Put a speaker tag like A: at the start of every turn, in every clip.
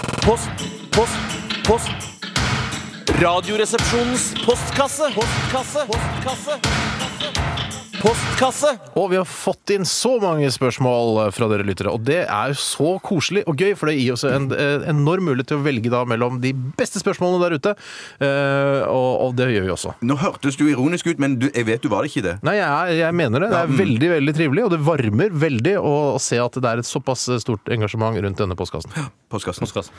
A: Post, post, post. Radioresepsjonens postkasse. Postkasse. Postkasse. Postkasse.
B: Og vi har fått inn så mange spørsmål eh, fra dere lyttere, og det er jo så koselig og gøy, for det gir oss en eh, enorm mulighet til å velge da mellom de beste spørsmålene der ute, eh, og, og det gjør vi også.
C: Nå hørtes du ironisk ut, men du, jeg vet du var det ikke det.
B: Nei, jeg, er, jeg mener det. Det
C: mm.
B: er veldig veldig trivelig, og det varmer veldig å se at det er et såpass stort engasjement rundt denne postkassen.
C: Postkassen.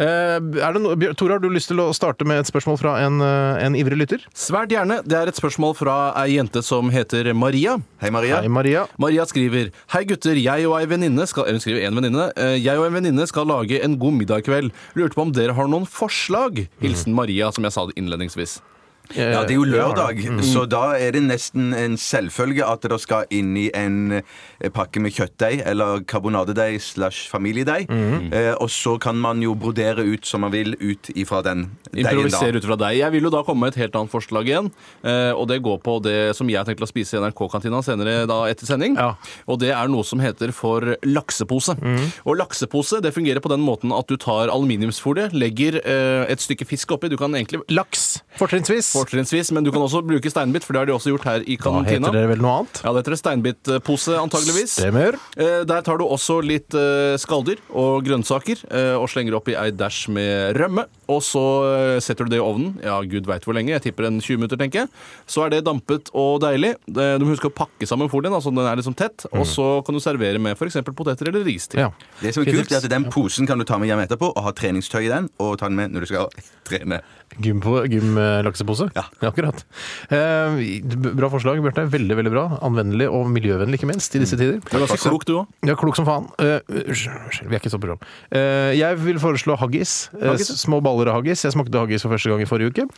B: Eh, er det no Bjør- Tore, har du lyst til å starte med et spørsmål fra en, eh, en ivrig lytter?
D: Svært gjerne. Det er et spørsmål fra ei jente som heter Maria.
C: Hei, Maria.
B: Hei, Maria.
D: Maria skriver Hei gutter, jeg og ei venninne skal Eller hun skriver en venninne. Eh, Jeg og en venninne skal lage en god middag i kveld. Lurte på om dere har noen forslag? Hilsen Maria, som jeg sa det innledningsvis.
C: Ja, det Mm. er
B: Eh,
C: jo lørdag, så da er det nesten en selvfølge at det skal inn i en eh, pakke med kjøttdeig eller karbonadedeig slash familiedeig. Eh, og så kan man jo brodere ut som man vil ut ifra den deigen,
D: Improvisere
C: da.
D: ut fra deg. Jeg vil jo da komme med et helt annet forslag igjen. eh, Og det går på det som jeg tenkte å spise i NRK-kantina senere da etter sending.
B: Ja.
D: Og det er noe som heter for laksepose. Og laksepose det fungerer på den måten at du tar aluminiumsfolie, legger eh, et stykke fisk oppi. Du kan egentlig
B: Laks, fortrinnsvis.
D: Fortrinnsvis, men du kan også bruke steinbit, for det har de også gjort her i
B: Da
D: kantina.
B: heter det vel noe annet?
D: Ja, det heter det steinbitpose, antageligvis.
B: Stemmer.
D: Eh, Der tar du også litt eh, skalldyr og grønnsaker eh, og slenger oppi ei dæsj med rømme. Og så eh, setter du det i ovnen. Ja, gud veit hvor lenge. Jeg tipper en 20 minutter, tenker jeg. Så er det dampet og deilig. Eh, Du må huske å pakke sammen folien, altså den er liksom tett. Og så kan du servere med f.eks. poteter eller ris til.
B: Mm. Ja.
C: Det som er kult, er at den posen kan du ta med hjem etterpå og ha treningstøy i den, og ta den med når du skal trene.
B: Gym på- Gym-laksepose?
C: Ja.
B: akkurat. Eh, bra forslag, Bjarte. Veldig veldig bra. Anvendelig og miljøvennlig, ikke minst, i
C: Mm.
B: disse tider.
D: Du er ganske klok, du òg.
B: Ja, klok som faen. Eh, Unnskyld, unnskyld, vi er ikke så program. Eh, jeg vil foreslå haggis. Eh,
D: Haggis, ja.
B: s- små baller av haggis. Jeg smakte haggis for første gang i forrige uke.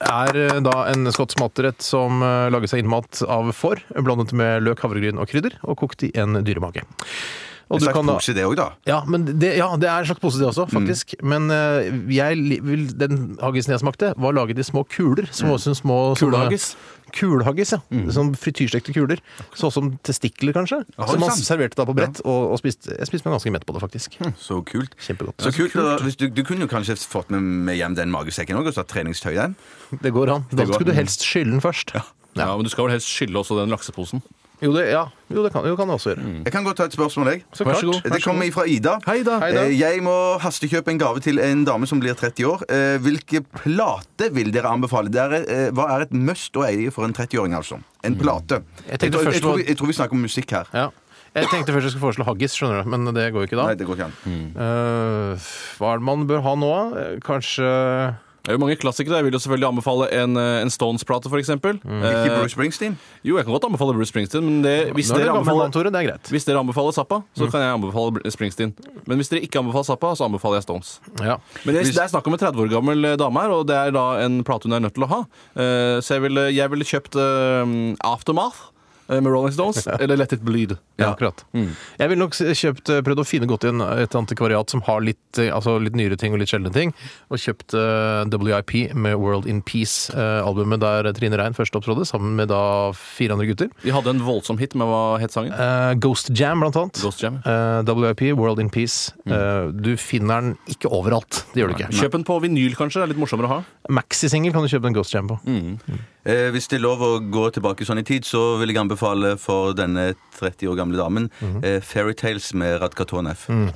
B: Er eh, da en skotsk matrett som eh, lages av innmat av får, blandet med løk, havregryn og krydder, og kokt i en dyremage. Og
C: En
B: du
C: slags
B: kan da-
C: pose, det òg, da.
B: ja, men det, ja, det er en slags pose det også, faktisk. Men eh, jeg, li- vil, den haggisen jeg smakte, var laget i små kuler. Som var sånne små sånne-
D: Kulehaggis?
B: Kulehaggis, ja. Sånn frityrstekte kuler. Sånn som testikler, kanskje. som man
C: sant.
B: serverte da på brett, og, og spiste, jeg spiste meg ganske mett på det, faktisk.
C: Så kult.
B: Kjempegodt.
C: Mm. Så kult, og hvis du, du kunne jo kanskje fått med, med hjem den magesekken òg, og så ha treningstøy i den.
B: Det går an. Da
C: går
B: skulle du
C: an.
B: helst skylle den først.
D: Ja, men du skal vel helst skylle også den lakseposen.
B: Jo, det, ja. jo, det kan jo, kan jeg også gjøre.
C: Jeg kan godt ta et spørsmål, jeg. Eh,
B: Så
D: Vær så
B: klart.
D: god.
C: Det kommer fra Ida.
B: Hei, Ida. Hei, Ida.
C: Eh, Jeg må hastekjøpe en gave til en dame som blir 30 år. Eh, Hvilke plate vil dere anbefale? Det er, eh, hva er et must å eie for en 30-åring, altså? En plate.
B: Mm. Jeg tenkte
C: tror,
B: først
C: jeg, tror,
B: på-
C: vi- jeg tror vi snakker om musikk her.
B: Ja. Jeg tenkte først jeg skulle foreslå haggis, skjønner du, men det går jo ikke da.
C: Nei, det går ikke an.
B: Eh, hva er det man bør ha nå? Eh, Kanskje
D: Det er jo mange klassikere. Jeg vil jo selvfølgelig anbefale en, eh, en Stones-plate, f.eks. Mm.
C: Ikke
B: Eh,
C: Bruce Springsteen?
D: Jo, jeg kan godt anbefale Bruce Springsteen, men det, hvis,
B: Nå er det
D: dere
B: gammel mann,
D: anbefaler,
B: Tore. Det er greit.
D: hvis dere anbefaler Zappa, så kan jeg anbefale Br- Springsteen. Men hvis dere ikke anbefaler Zappa, så anbefaler jeg Stones.
B: Ja.
D: Men det, det er snakk om en 30 år gammel eh, dame her, og det er da en plate hun er nødt til å ha. Eh, Så jeg ville, jeg ville kjøpt eh, Aftermath eh, med Rolling Stones, eller Let It Bleed.
B: Ja, akkurat. Jeg ville nok s- kjøpt, eh, prøvd å finne godt i en, et antikvariat som har litt, eh, altså litt nyere ting og litt sjeldne ting, og kjøpt eh, WIP med World in Peace-albumet der Trine Rein først opptrådde, sammen med da fire andre gutter.
D: De hadde en voldsom hit med hva het sangen?
B: Eh, Ghost Jam, blant annet.
D: Ghost Jam.
B: Eh, WIP, World in Peace. Eh, du finner den ikke overalt. Det gjør du ikke.
D: Kjøp den på vinyl, kanskje. Det er litt morsommere å ha.
B: Maxisingel kan du kjøpe en Ghost Jam på.
C: Eh, hvis det er lov å gå tilbake sånn i tid, så vil jeg anbefale for denne 30 år gamle damen
B: Mhm.
C: eh, Fairytales med Radkatonef.
B: Mm.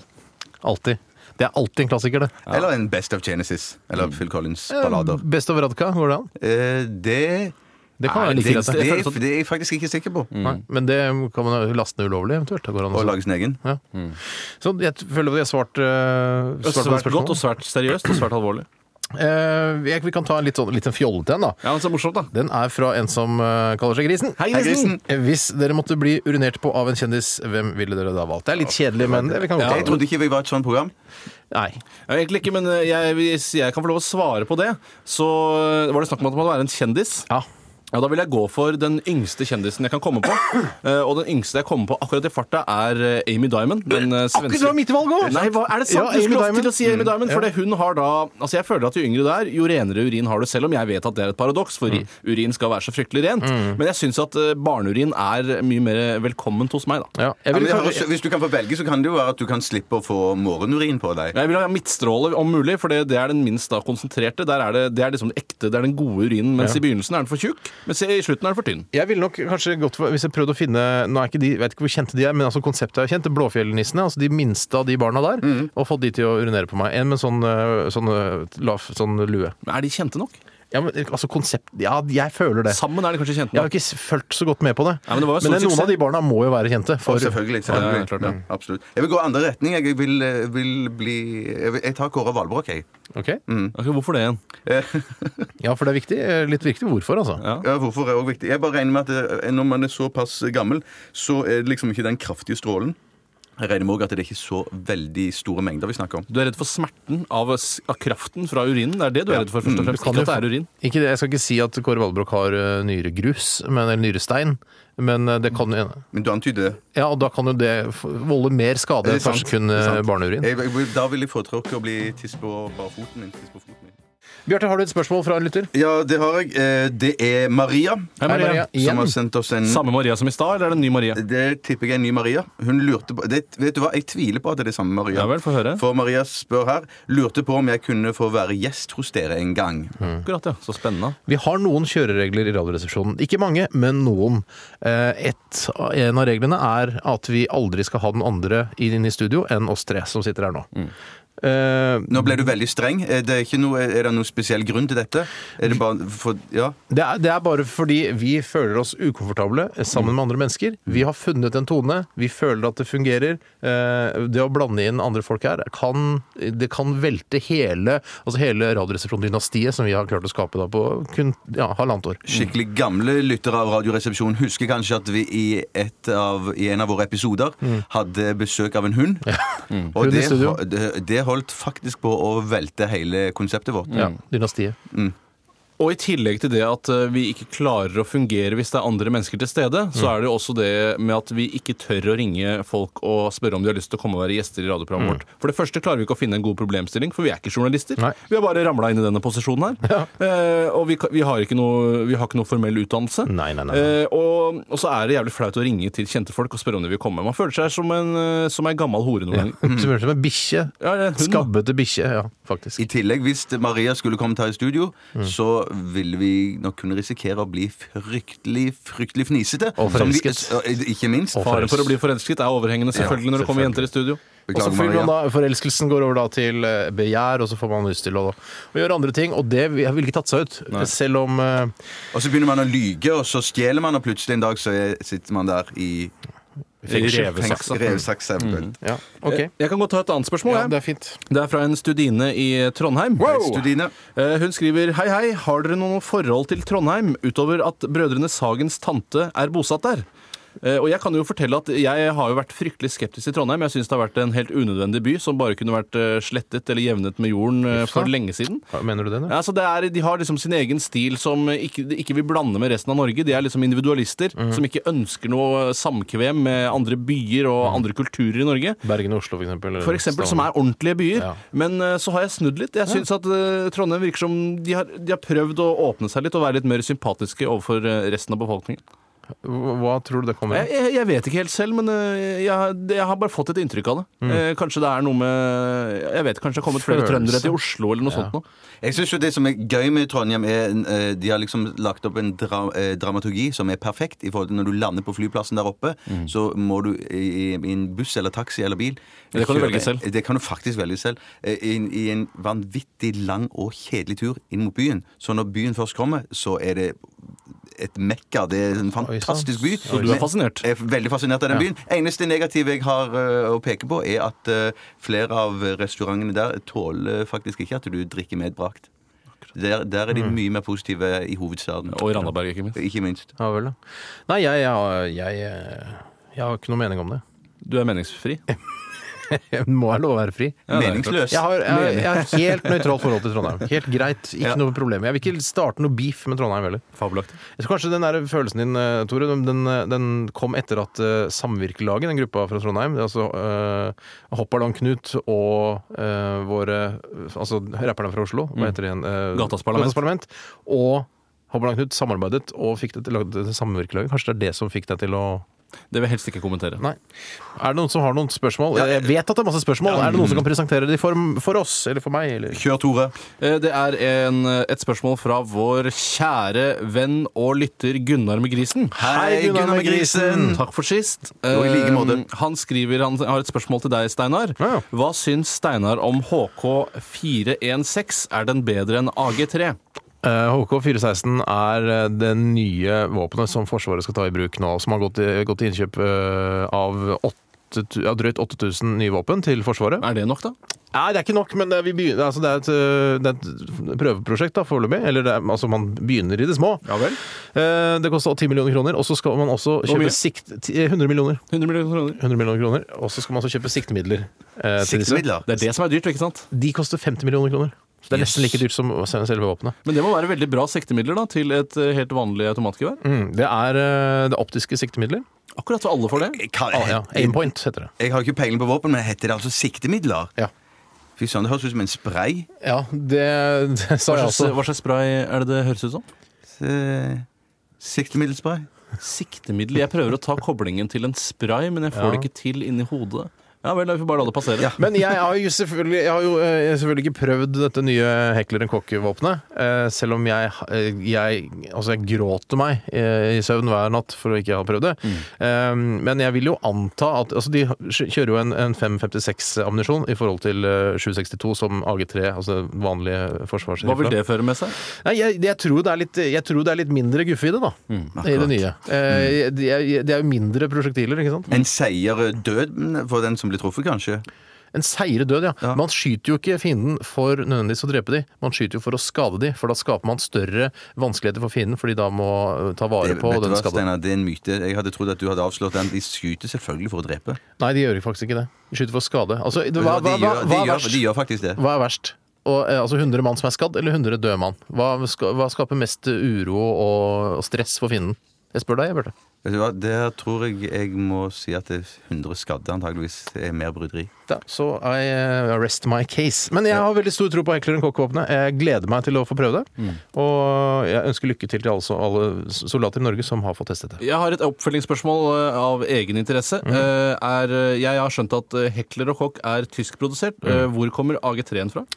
B: Alltid. Det er alltid en klassiker, det. Eh,
C: Eller en Best of Genesis. Eller Phil Collins' ballader.
B: Best of Radka, går det an?
C: Eh, det
B: Det kan være like
C: det,
B: greit.
C: det,
B: det.
C: er- det er jeg faktisk ikke sikker på.
B: Nei, Men det kan man laste ned ulovlig, eventuelt. Det går an
C: Å
B: også.
C: lage sin egen.
B: Ja. Så jeg føler at jeg har svart, eh, svart på
D: Svært
B: spørsmålet.
D: godt og svært seriøst og svært alvorlig.
B: Eh, jeg, vi kan ta en litt, sånn, litt en fjollete en, da.
D: Ja, men så morsomt, da.
B: Den er fra en som eh, kaller seg Grisen.
D: Hei, Grisen!
B: Eh, Hvis dere måtte bli urinert på av en kjendis, hvem ville dere da valgt? Det er litt kjedelig, men vi kan godt
C: Jeg
B: ta det.
C: trodde ikke vi var et sånt program.
B: Nei.
D: Ja, egentlig ikke, men eh, jeg, hvis jeg kan få lov å svare på det, så eh, var det snakk om at man måtte være en kjendis.
B: Ja.
D: Ja, Da vil jeg gå for den yngste kjendisen jeg kan komme på. Eh, og den yngste jeg kommer på akkurat i farta, er eh, Amy Diamond. Den eh, svenske
B: Akkurat mitt valg òg!
D: Nei, hva, er det sant?
B: Ja,
D: du
B: Amy
D: skulle lov
B: Diamond. Mm,
D: til å si Amy Diamond, for det hun har da Altså, jeg føler at jo yngre du er, jo renere urin har du, selv om jeg vet at det er et paradoks, for
B: Mm.
D: urin skal være så fryktelig rent. Men jeg syns at eh, barneurin er mye mer velkomment hos meg, da.
B: Ja, jeg
C: Ja, men
B: vil,
C: det høres- hvis du kan få velge, så kan det jo være at du kan slippe å få morgenurin på deg.
D: Jeg vil ha midtstråle om mulig, for det, det er den minst da konsentrerte. Der er det, det er liksom det ekte, det er den gode urinen, mens i begynnelsen er den for tjukk, mens i slutten er den for tynn.
B: jeg ville nok kanskje gått for Hvis jeg prøvde å finne Nå er ikke de, jeg vet ikke hvor kjente de er, men altså konseptet er kjent. Blåfjellnissene, altså de minste av de barna der, og fått de til å urinere på meg. En med sånn, øh, sånn, øh, lav, sånn lue.
D: Men er de kjente nok?
B: Ja, men, altså konsept Ja, jeg føler det.
D: Sammen er de kanskje kjente
B: Jeg har
D: nok.
B: ikke s- fulgt så godt med på det.
D: Nei, men det var jo stor
B: noen
D: suksess.
B: av de barna må jo være kjente. For,
C: Selvfølgelig.
D: ja,
C: selvfølgelig.
D: klart, ja.
C: Mm, Absolutt. Jeg vil gå andre retning. Jeg vil, eh, vil bli Jeg, vil, jeg tar Kåre Valbrok, jeg. Eh,
B: Ok?
D: Ok, hvorfor det igjen?
B: Ja, for det er viktig. eh, Litt viktig hvorfor, altså.
D: Ja.
C: Ja, hvorfor er også viktig? Jeg bare regner med at eh, når man er såpass gammel, så er det liksom ikke den kraftige strålen. Jeg regner med også at det er ikke så veldig store mengder vi snakker om.
D: Du er redd for smerten av, av kraften fra urinen? Det er det du er redd for, først og fremst? Ikke
B: Mm. kan jo
D: at det er urin?
B: Ikke det, jeg skal ikke si at Kåre Valbrok har eh, nyregrus, men, eller nyrestein, men eh, det kan jo
C: Men du antyder det.
B: Ja, og da kan jo det f- volde mer skade
C: Det
B: enn
C: er sant,
B: kanskje kun
C: det er
B: eh,
C: sant.
B: barneurin.
C: Jeg, jeg, vil- da vil jeg foretrekke å bli tiss på bare foten min. Tiss på foten min.
B: Bjarte, har du et spørsmål fra en lytter?
C: Ja, det har jeg. Eh, Det er Maria
D: Hei, Maria.
B: Maria.
C: som
B: Igjen?
C: har sendt oss en
D: Samme Maria som i stad, eller er det en ny Maria?
C: Det tipper jeg er en ny Maria. Hun lurte på det, Vet du hva, jeg tviler på at det er det samme Maria.
D: Ja vel, få høre.
C: For Maria spør her lurte på om jeg kunne få være gjest hos dere en gang.
B: Mm.
D: Akkurat, ja. Så spennende.
B: Vi har noen kjøreregler i Radioresepsjonen. Ikke mange, men noen. Eh, Et, en av reglene er at vi aldri skal ha den andre inn i studio enn oss tre som sitter her nå. Eh,
C: Nå ble du veldig streng. Er det, ikke noe, er det noen spesiell grunn til dette? Er det bare for Ja.
B: Det er, det er bare fordi vi føler oss ukomfortable sammen med andre mennesker. Vi har funnet en tone, vi føler at det fungerer. Eh, Det å blande inn andre folk her kan, det kan velte hele, altså hele Radioresepsjon-dynastiet som vi har klart å skape da på kun ja, halvannet år.
C: Skikkelig gamle lyttere av Radioresepsjonen husker kanskje at vi i, et av, i en av våre episoder hadde besøk av en hund. Og
B: Mm. Hund i
C: det,
B: studio.
C: ho- det, det holdt faktisk på å velte hele konseptet vårt.
B: Ja, dynastiet.
D: Og i tillegg til det at eh, vi ikke klarer å fungere hvis det er andre mennesker til stede,
B: Mm.
D: så er det jo også det med at vi ikke tør å ringe folk og spørre om de har lyst til å komme og være gjester i radioprogrammet vårt. For det første klarer vi ikke å finne en god problemstilling, for vi er ikke journalister.
B: Mm. Nei.
D: Vi har bare ramla inn i denne posisjonen her. Eh, og vi, kan- vi, har ikke noe, vi har ikke noe formell utdannelse.
B: Nei, nei, nei, nei.
D: Eh, og, og så er det jævlig flaut å ringe til kjente folk og spørre om de vil komme. Man føler seg som en, eh, som en gammel hore noen ganger.
B: Som høres ut som en bikkje.
D: Ja, det er en hund, da.
B: Skabbete bikkje, ja, faktisk.
C: I tillegg, hvis Maria skulle kommet her i studio,
B: Mm.
C: så ville vi nok kunne risikere å bli fryktelig, fryktelig fnisete.
B: Og
C: Som vi-
B: forelsket.
C: Ja, Ikke minst.
B: Og
D: Faren for å bli forelsket er overhengende selvfølgelig når det kommer jenter i studio.
B: Og så
C: Beklager,
B: får man
C: Maria.
B: da, Forelskelsen går over da til eh, begjær, og så får man lyst til å, å gjøre andre ting. Og det vil vil ikke tatt seg ut. Selv om eh,
C: Og så begynner man å lyge, og så stjeler man, og plutselig en dag så er, sitter man der i
D: Fengsel.
C: fengsel.
D: sånn.
C: Revsaks, eventuelt.
B: Ja, OK.
D: Jeg, jeg kan godt ta et annet spørsmål.
B: Ja,
D: jeg.
B: det er fint.
D: Det er fra en studine i Trondheim.
C: Studine.
D: Eh, Hun skriver Hei, hei, har dere noe forhold til Trondheim utover at Brødrene Sagens tante er bosatt der? Eh, Og jeg kan jo fortelle at jeg har jo vært fryktelig skeptisk til Trondheim. Jeg syns det har vært en helt unødvendig by som bare kunne vært eh, slettet eller jevnet med jorden eh, for
B: Uffa.
D: lenge siden.
B: Hva Mener du det? nå?
D: Ja, så det er, de har liksom sin egen stil som ikke, de ikke vil blande med resten av Norge. De er liksom individualister
B: Mhm.
D: som ikke ønsker noe samkvem med andre byer og
B: Mhm.
D: andre kulturer i Norge.
B: Bergen og Oslo, for eksempel. eller
D: For eksempel, som
B: Stavanger.
D: er ordentlige byer.
B: Ja.
D: Men eh, så har jeg snudd litt. Jeg syns at eh, Trondheim virker som de har, de har prøvd å åpne seg litt og være litt mer sympatiske overfor eh, resten av befolkningen.
B: Hva hva tror du det kommer
D: Jeg,
B: av?
D: jeg, jeg vet ikke helt selv, men eh, jeg, det- jeg har bare fått et inntrykk av det.
B: Mm.
D: Eh, Kanskje det er noe med Jeg vet kanskje det har kommet flere
B: Følelse.
D: trøndere til Oslo eller noe sånt nå.
C: Jeg syns jo det som er gøy med Trondheim, er eh, de har liksom lagt opp en dra eh, dramaturgi som er perfekt. i forhold til Når du lander på flyplassen der oppe,
D: Mm.
C: så må du i, i en buss eller taxi eller bil
D: Det kan du
C: kjøre-
D: velge selv.
C: Det kan du faktisk velge selv. eh, inn I en vanvittig lang og kjedelig tur inn mot byen. Så når byen først kommer, så er det et mekka. Det er en fantastisk by.
D: Så du er fascinert?
C: Jeg er veldig fascinert av den byen. Eneste negative jeg har eh, å peke på, er at eh, flere av restaurantene der tåler faktisk ikke at du drikker med brakt. Der, der er de mye mer positive i hovedstaden.
D: Mm. Og i Randaberg, ikke minst.
C: Ikke minst.
B: Ja vel, da. eh, Nei, jeg, jeg, jeg, jeg har ikke noe mening om det.
D: Du er meningsfri.
B: Jeg må være loværefri.
C: Meningsløs.
B: Jeg har, jeg, jeg har helt nøytralt forhold til Trondheim. Helt greit, ikke
C: Ja.
B: noe problem. Jeg vil ikke starte noe beef med Trondheim heller.
D: Fabelaktig.
B: Jeg tror kanskje den der følelsen din, eh, Tore, den, den, den kom etter at eh, Samvirkelaget, den gruppa fra Trondheim, det er altså eh, Hoppaland Knut og eh, våre Altså rapperne fra Oslo, hva heter de igjen? Eh,
D: Gatas Parlament.
B: Parlament, Og Hoppaland Knut samarbeidet og fikk det til, lagde det Samvirkelaget. Kanskje det er det som fikk deg til å
D: Det vil jeg helst ikke kommentere.
B: Nei. Er det noen som har noen spørsmål? Jeg vet at det er masse spørsmål. Er det noen som kan presentere de for, for oss, eller for meg? Eller?
C: Kjør, Tore.
D: Eh, Det er en, eh, et spørsmål fra vår kjære venn og lytter Gunnar med grisen.
C: Hei,
B: Gunnar
C: Gunnar med grisen.
D: Takk for sist.
C: i like måte.
D: Eh, Han skriver, han har et spørsmål til deg, Steinar.
B: Ja, ja.
D: Hva syns Steinar om HK416? Er den bedre enn AG3?
B: Eh, HK416 er eh, det nye våpenet som Forsvaret skal ta i bruk nå, som har gått, i- gått til innkjøp eh, av åtte tu- ja, drøyt 8000 nye våpen til Forsvaret.
D: Er det nok, da?
B: Nei, det er ikke nok, men det, er- vi begynner, altså, det, er, et, eh, det er et prøveprosjekt da, foreløpig. Eller det er, altså, man begynner i det små.
D: Ja vel.
B: Eh, det koster 10 millioner kroner, og så skal man også
D: mye?
B: kjøpe sikt... ti- 100 millioner.
D: 100 millioner kroner.
B: 100 millioner kroner, Og så skal man også kjøpe siktemidler. eh, til disse.
C: Siktemidler.
D: Det er det som er dyrt, ikke sant?
B: De koster 50 millioner kroner. Så det er nesten like dyrt som selve våpenet.
D: Men det må være veldig bra siktemidler da, til et eh, helt vanlig automatgevær.
B: Mm, det er eh, det er optiske siktemidler.
D: Akkurat så alle får det.
C: Jeg, kan,
B: Ah, ja. Aimpoint heter det.
C: jeg har ikke peiling på våpen, men heter det altså siktemidler?
B: Ja.
C: Fy søren, det høres ut som en spray.
B: Ja, det, det sa
D: Hva slags,
B: jeg også.
D: hva slags spray er det det høres ut som?
C: Eh, Siktemiddelspray.
D: Siktemiddel. Jeg prøver å ta koblingen til en spray, men jeg får det ikke til inni hodet. Ja vel, da får vi bare la det passere.
B: Men jeg har jo selvfølgelig, jeg har jo eh, selvfølgelig ikke prøvd dette nye Hekler Kokke-våpenet. eh, Selv om jeg, eh, jeg Altså, jeg gråter meg eh, i søvn hver natt for å ikke ha prøvd det. Eh, Men jeg vil jo anta at Altså, de kjører jo en, en 556-ammunisjon i forhold til eh, 762 som AG3, altså vanlige forsvars...
D: Hva vil det føre med seg?
B: Nei, jeg, jeg, tror det er litt, jeg tror det er litt mindre guffe i det, da. I det nye. Eh, Det er det er jo mindre prosjektiler, ikke sant?
D: Mm.
C: En seier eh, død for den som blir truffet, kanskje.
B: En seire død, ja. Man skyter jo ikke fienden for nødvendigvis å drepe de, man skyter jo for å skade de, for da skaper man større vanskeligheter for fienden, fordi da må eh, ta vare
C: Det-
B: på
C: vet du
B: den
C: hva,
B: skaden.
C: Steinar, det er en myte. Jeg hadde trodd at du hadde avslått den. De skyter selvfølgelig for å drepe.
B: Nei, de gjør faktisk ikke det. De skyter for å skade. Altså, det-
C: Vet du
B: hva, hva,
C: hva, de,
B: hva,
C: gjør,
B: hva
C: de,
B: er
C: gjør, de
B: verst?
C: gjør faktisk det.
B: Hva er verst? Og, eh, altså 100 mann som er skadd, eller 100 døde mann? Hva, ska, hva skaper mest uro og, og stress for fienden? Jeg spør deg, jeg, Bjarte.
C: Vet du hva, Der tror jeg jeg må si at det er 100 skadde antageligvis er mer bryderi.
B: Da, så I eh, rest my case. Men jeg har veldig stor tro på Hekler Kokke-våpenet. Jeg gleder meg til å få prøve det.
D: Mm.
B: Og jeg ønsker lykke til til alle, som- alle soldater i Norge som har fått testet det.
D: Jeg har et oppfølgingsspørsmål eh, av egen interesse.
B: Mhm.
D: Eh, Er, eh, jeg har skjønt at eh, Hekler og Kokk er tyskprodusert. Eh,
B: Mhm.
D: Hvor kommer AG3-en fra?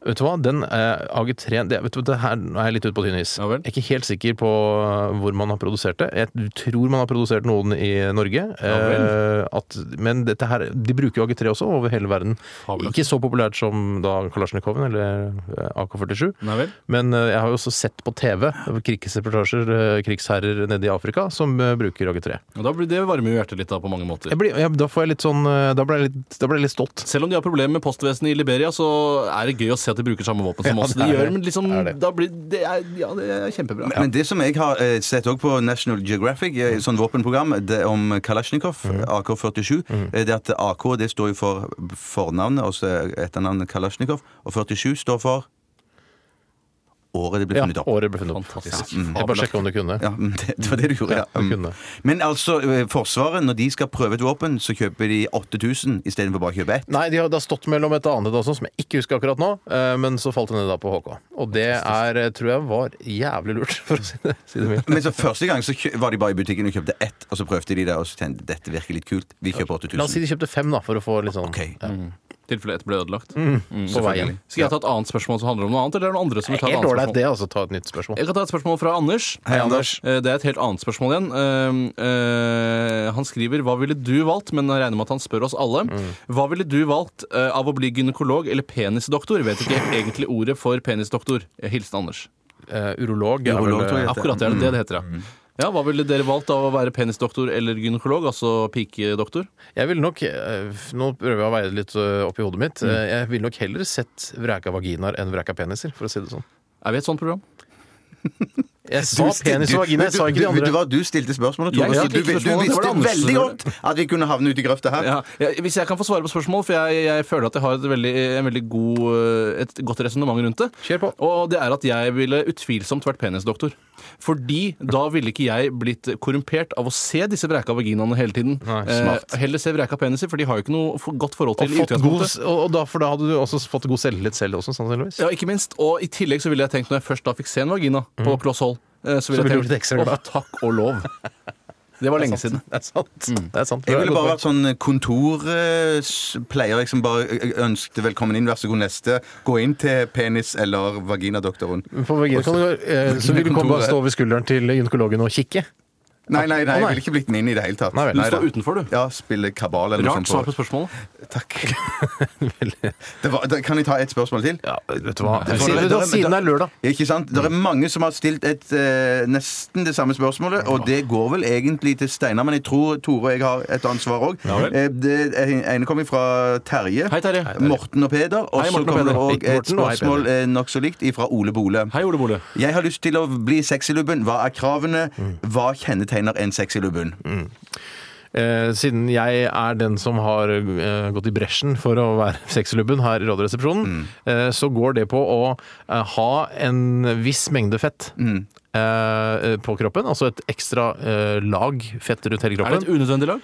B: Vet du hva, den eh, AG3 det, vet du, hva, det her nå er jeg litt ute på tynn is.
D: Ja vel.
B: Jeg er ikke helt sikker på eh, hvor man har produsert det. Jeg tror man har produsert noen i Norge. eh, at, men dette her, de bruker jo AG3 også over hele verden.
D: Fabelaktig.
B: Ikke så populært som da Kalasjnikoven eller eh, AK-47.
D: Nei vel?
B: Men eh, jeg har jo også sett på TV krigsreportasjer, eh, krigsherrer nede i Afrika som eh, bruker AG3.
D: Ja, Da blir det varme i hjertet litt da, på mange måter.
B: Jeg blir, jeg, da får jeg litt sånn eh, Da ble jeg litt, da ble jeg litt stolt.
D: Selv om de har problemer med postvesenet i Liberia, så er det gøy å se at de bruker samme våpen som
B: Ja,
D: oss.
B: det
D: De
B: er
D: gjør,
B: det.
D: men liksom,
B: Det er det.
D: da blir, det er, ja, det er kjempebra.
C: Men, men det som jeg har eh, sett også på National Geographic, eh, sånn våpenprogram det om Kalasjnikov,
B: Mhm.
C: AK-47, eh, det at AK det står jo for fornavnet, og så etternavnet Kalasjnikov, og 47 står for året det ble
B: Ja,
C: funnet opp. Mm.
B: året ble funnet opp.
D: Fantastisk.
B: Jeg bare sjekka om du kunne.
C: Ja, mm, det, det var det du gjorde.
B: Ja,
C: Ja.
B: du
C: Mm.
B: kunne.
C: Men altså, eh, Forsvaret, når de skal prøve et våpen, så kjøper de 8000 istedenfor bare å kjøpe ett.
B: Nei, de har, det har stått mellom et annet også, som jeg ikke husker akkurat nå. eh, Men så falt det ned da på HK. Og det er, eh, tror jeg var jævlig lurt, for å si det, si det mildt.
C: Men så første gang så kjø- var de bare i butikken og kjøpte ett, og så prøvde de det, og så tenkte de dette virker litt kult, vi kjøper 8000.
B: La oss si de kjøpte fem, da, for å få litt sånn
C: Ok.
B: ja,
D: I tilfelle ett ble ødelagt.
B: på veien.
D: Skal jeg ta et annet spørsmål som handler om noe annet, eller er det noen andre som vil ta et
B: Helt
D: annet
B: ålreit,
D: spørsmål?
B: det, altså. Ta et nytt spørsmål.
D: Jeg kan ta et spørsmål fra Anders.
C: Hei, Anders.
D: Eh, Det er et helt annet spørsmål igjen. Eh, eh, Han skriver Hva ville du valgt? Men jeg regner med at han spør oss alle.
C: Mm.
D: Hva ville du valgt eh, av å bli gynekolog eller penisdoktor? Vet ikke egentlig ordet for penisdoktor. Hilsen Anders.
B: Eh, urolog. er
C: Urolog,
B: vel,
C: tror jeg.
B: eh,
D: Akkurat det er det det det heter,
C: Mm.
D: ja. Ja, Hva ville dere valgt av å være penisdoktor eller gynekolog? Altså pikedoktor?
B: Jeg ville nok eh, Nå prøver jeg å veie det litt eh, opp i hodet mitt.
C: Mm.
B: Eh, Jeg ville nok heller sett vraka vaginaer enn vraka peniser, for å si det sånn.
D: Er vi et sånt program?
B: Jeg sa penis og vagina, jeg sa ikke de
C: Vet du
B: andre.
C: hva, du stilte spørsmålet,
D: Jeg
C: Tore. så
D: stilte
C: Du,
D: ikke
C: du
D: spørsmålet, det var det
C: visste
D: andre som
C: veldig
D: gjorde
C: godt at vi kunne havne ute i grøfta her.
D: Ja, jeg, hvis jeg kan få svare på spørsmål, for jeg, jeg føler at jeg har et veldig, en veldig god, eh, et godt resonnement rundt det.
B: Kjør på.
D: Og det er at jeg ville utvilsomt vært penisdoktor. Fordi da ville ikke jeg blitt korrumpert av å se disse vreka vaginaene hele tiden.
B: Nei, smart.
D: Eh, heller se vreka peniser, for de har jo ikke noe for- godt forhold til
B: Og,
D: i
B: fått god,
D: utgangspunktet.
B: og og da, for da hadde du også fått god selvtillit selv også, sannsynligvis.
D: Ja, ikke minst. Og i tillegg så ville jeg tenkt, når jeg først da fikk se en vagina på kloss hold, eh, så ville
B: Mm. Så ville
D: jeg tenkt
B: du blitt ekstra
D: «Åh,
B: glad».
D: takk og lov. Det var lenge siden.
B: Det er sant. Det er sant.
C: Mm. Jeg
B: Det er
C: ville
B: godt poeng.
C: bare vært sånn eh, kontorpleier. Jeg som liksom, bare ø- ø- ønsket velkommen inn, vær så god neste. Gå inn til penis- eller vaginadoktoren.
B: På vagina kan du, eh, så vil du komme bare
C: Kontoret.
B: stå over skulderen til gynekologen og kikke.
C: Nei, nei, nei,
B: Å,
C: jeg
B: nei.
C: ville ikke blitt med inn i det hele tatt.
B: Nei vel.
D: Du
C: Nei
D: står
C: da.
D: utenfor, du.
C: Ja, spille kabal eller noe
D: Rart svar
C: sånt.
D: på spørsmålet.
C: På. Takk. Det var, da, kan jeg ta et spørsmål til?
B: Ja, vet du hva.
C: får-
B: Siden,
C: det er-
B: siden det er lørdag.
C: Ikke sant? Det
D: Mm.
C: er mange som har stilt et, eh, nesten det samme spørsmålet, og det går vel egentlig til Steinar, men jeg tror Tore og jeg har et ansvar òg.
D: vel.
C: eh, det ene kommer fra Terje,
D: Hei, Terje. Hei, Terje.
C: Morten og Peder, og
D: Hei,
C: så
D: Morten og
C: kommer det
D: Peder.
C: òg
B: Ikke
C: et
B: Morten, og hei,
C: spørsmål eh, nokså likt fra Ole Bole.
D: Hei, Ole Bole.
C: Jeg har lyst til å bli sexylubben. Hva er kravene?
D: Mm.
C: Hva kjennetegner en sexylubben?
B: Eh, siden jeg er den som har eh, gått i bresjen for å være sexlubben her i Radioresepsjonen,
D: Mm.
B: eh, så går det på å eh, ha en viss mengde fett
D: Mm.
B: eh, på kroppen. Altså et ekstra eh, lag fett rundt hele
D: Er det et
B: kroppen.
D: unødvendig lag?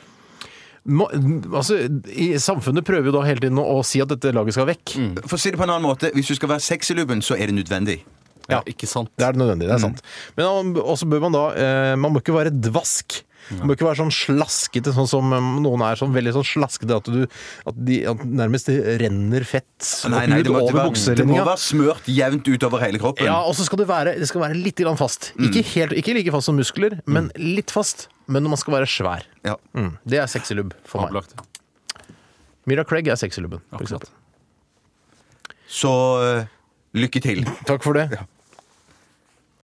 B: Må, altså, i, samfunnet prøver jo da hele tiden å, å si at dette laget skal vekk.
D: Mm.
C: For å si det på en annen måte, Hvis du skal være sexylubben, så er det nødvendig.
B: Ja.
C: Eh,
D: Ikke sant.
B: Det er nødvendig, det
C: Mm.
B: er sant. Men man- også bør man da eh, Man må ikke være dvask. Man bør ikke være sånn slaskete, sånn som eh, noen er sånn veldig sånn slaskete at du at de at nærmest det renner fett
C: Nei, nei,
B: ut
C: det, må, det,
B: over
C: må, det må
B: bukselinja.
C: være smørt jevnt utover hele kroppen.
B: Ja, og så skal det være, det skal være litt grann fast.
C: Mm.
B: Ikke, helt, ikke like fast som muskler, men litt fast. Men når man skal være svær.
C: Ja.
B: Mm. Det er sexy lubb for meg.
D: Opplagt.
B: Mira Craig er sexy lubben, for
D: Akkurat.
B: eksempel.
C: Så eh, lykke til.
B: Takk for det.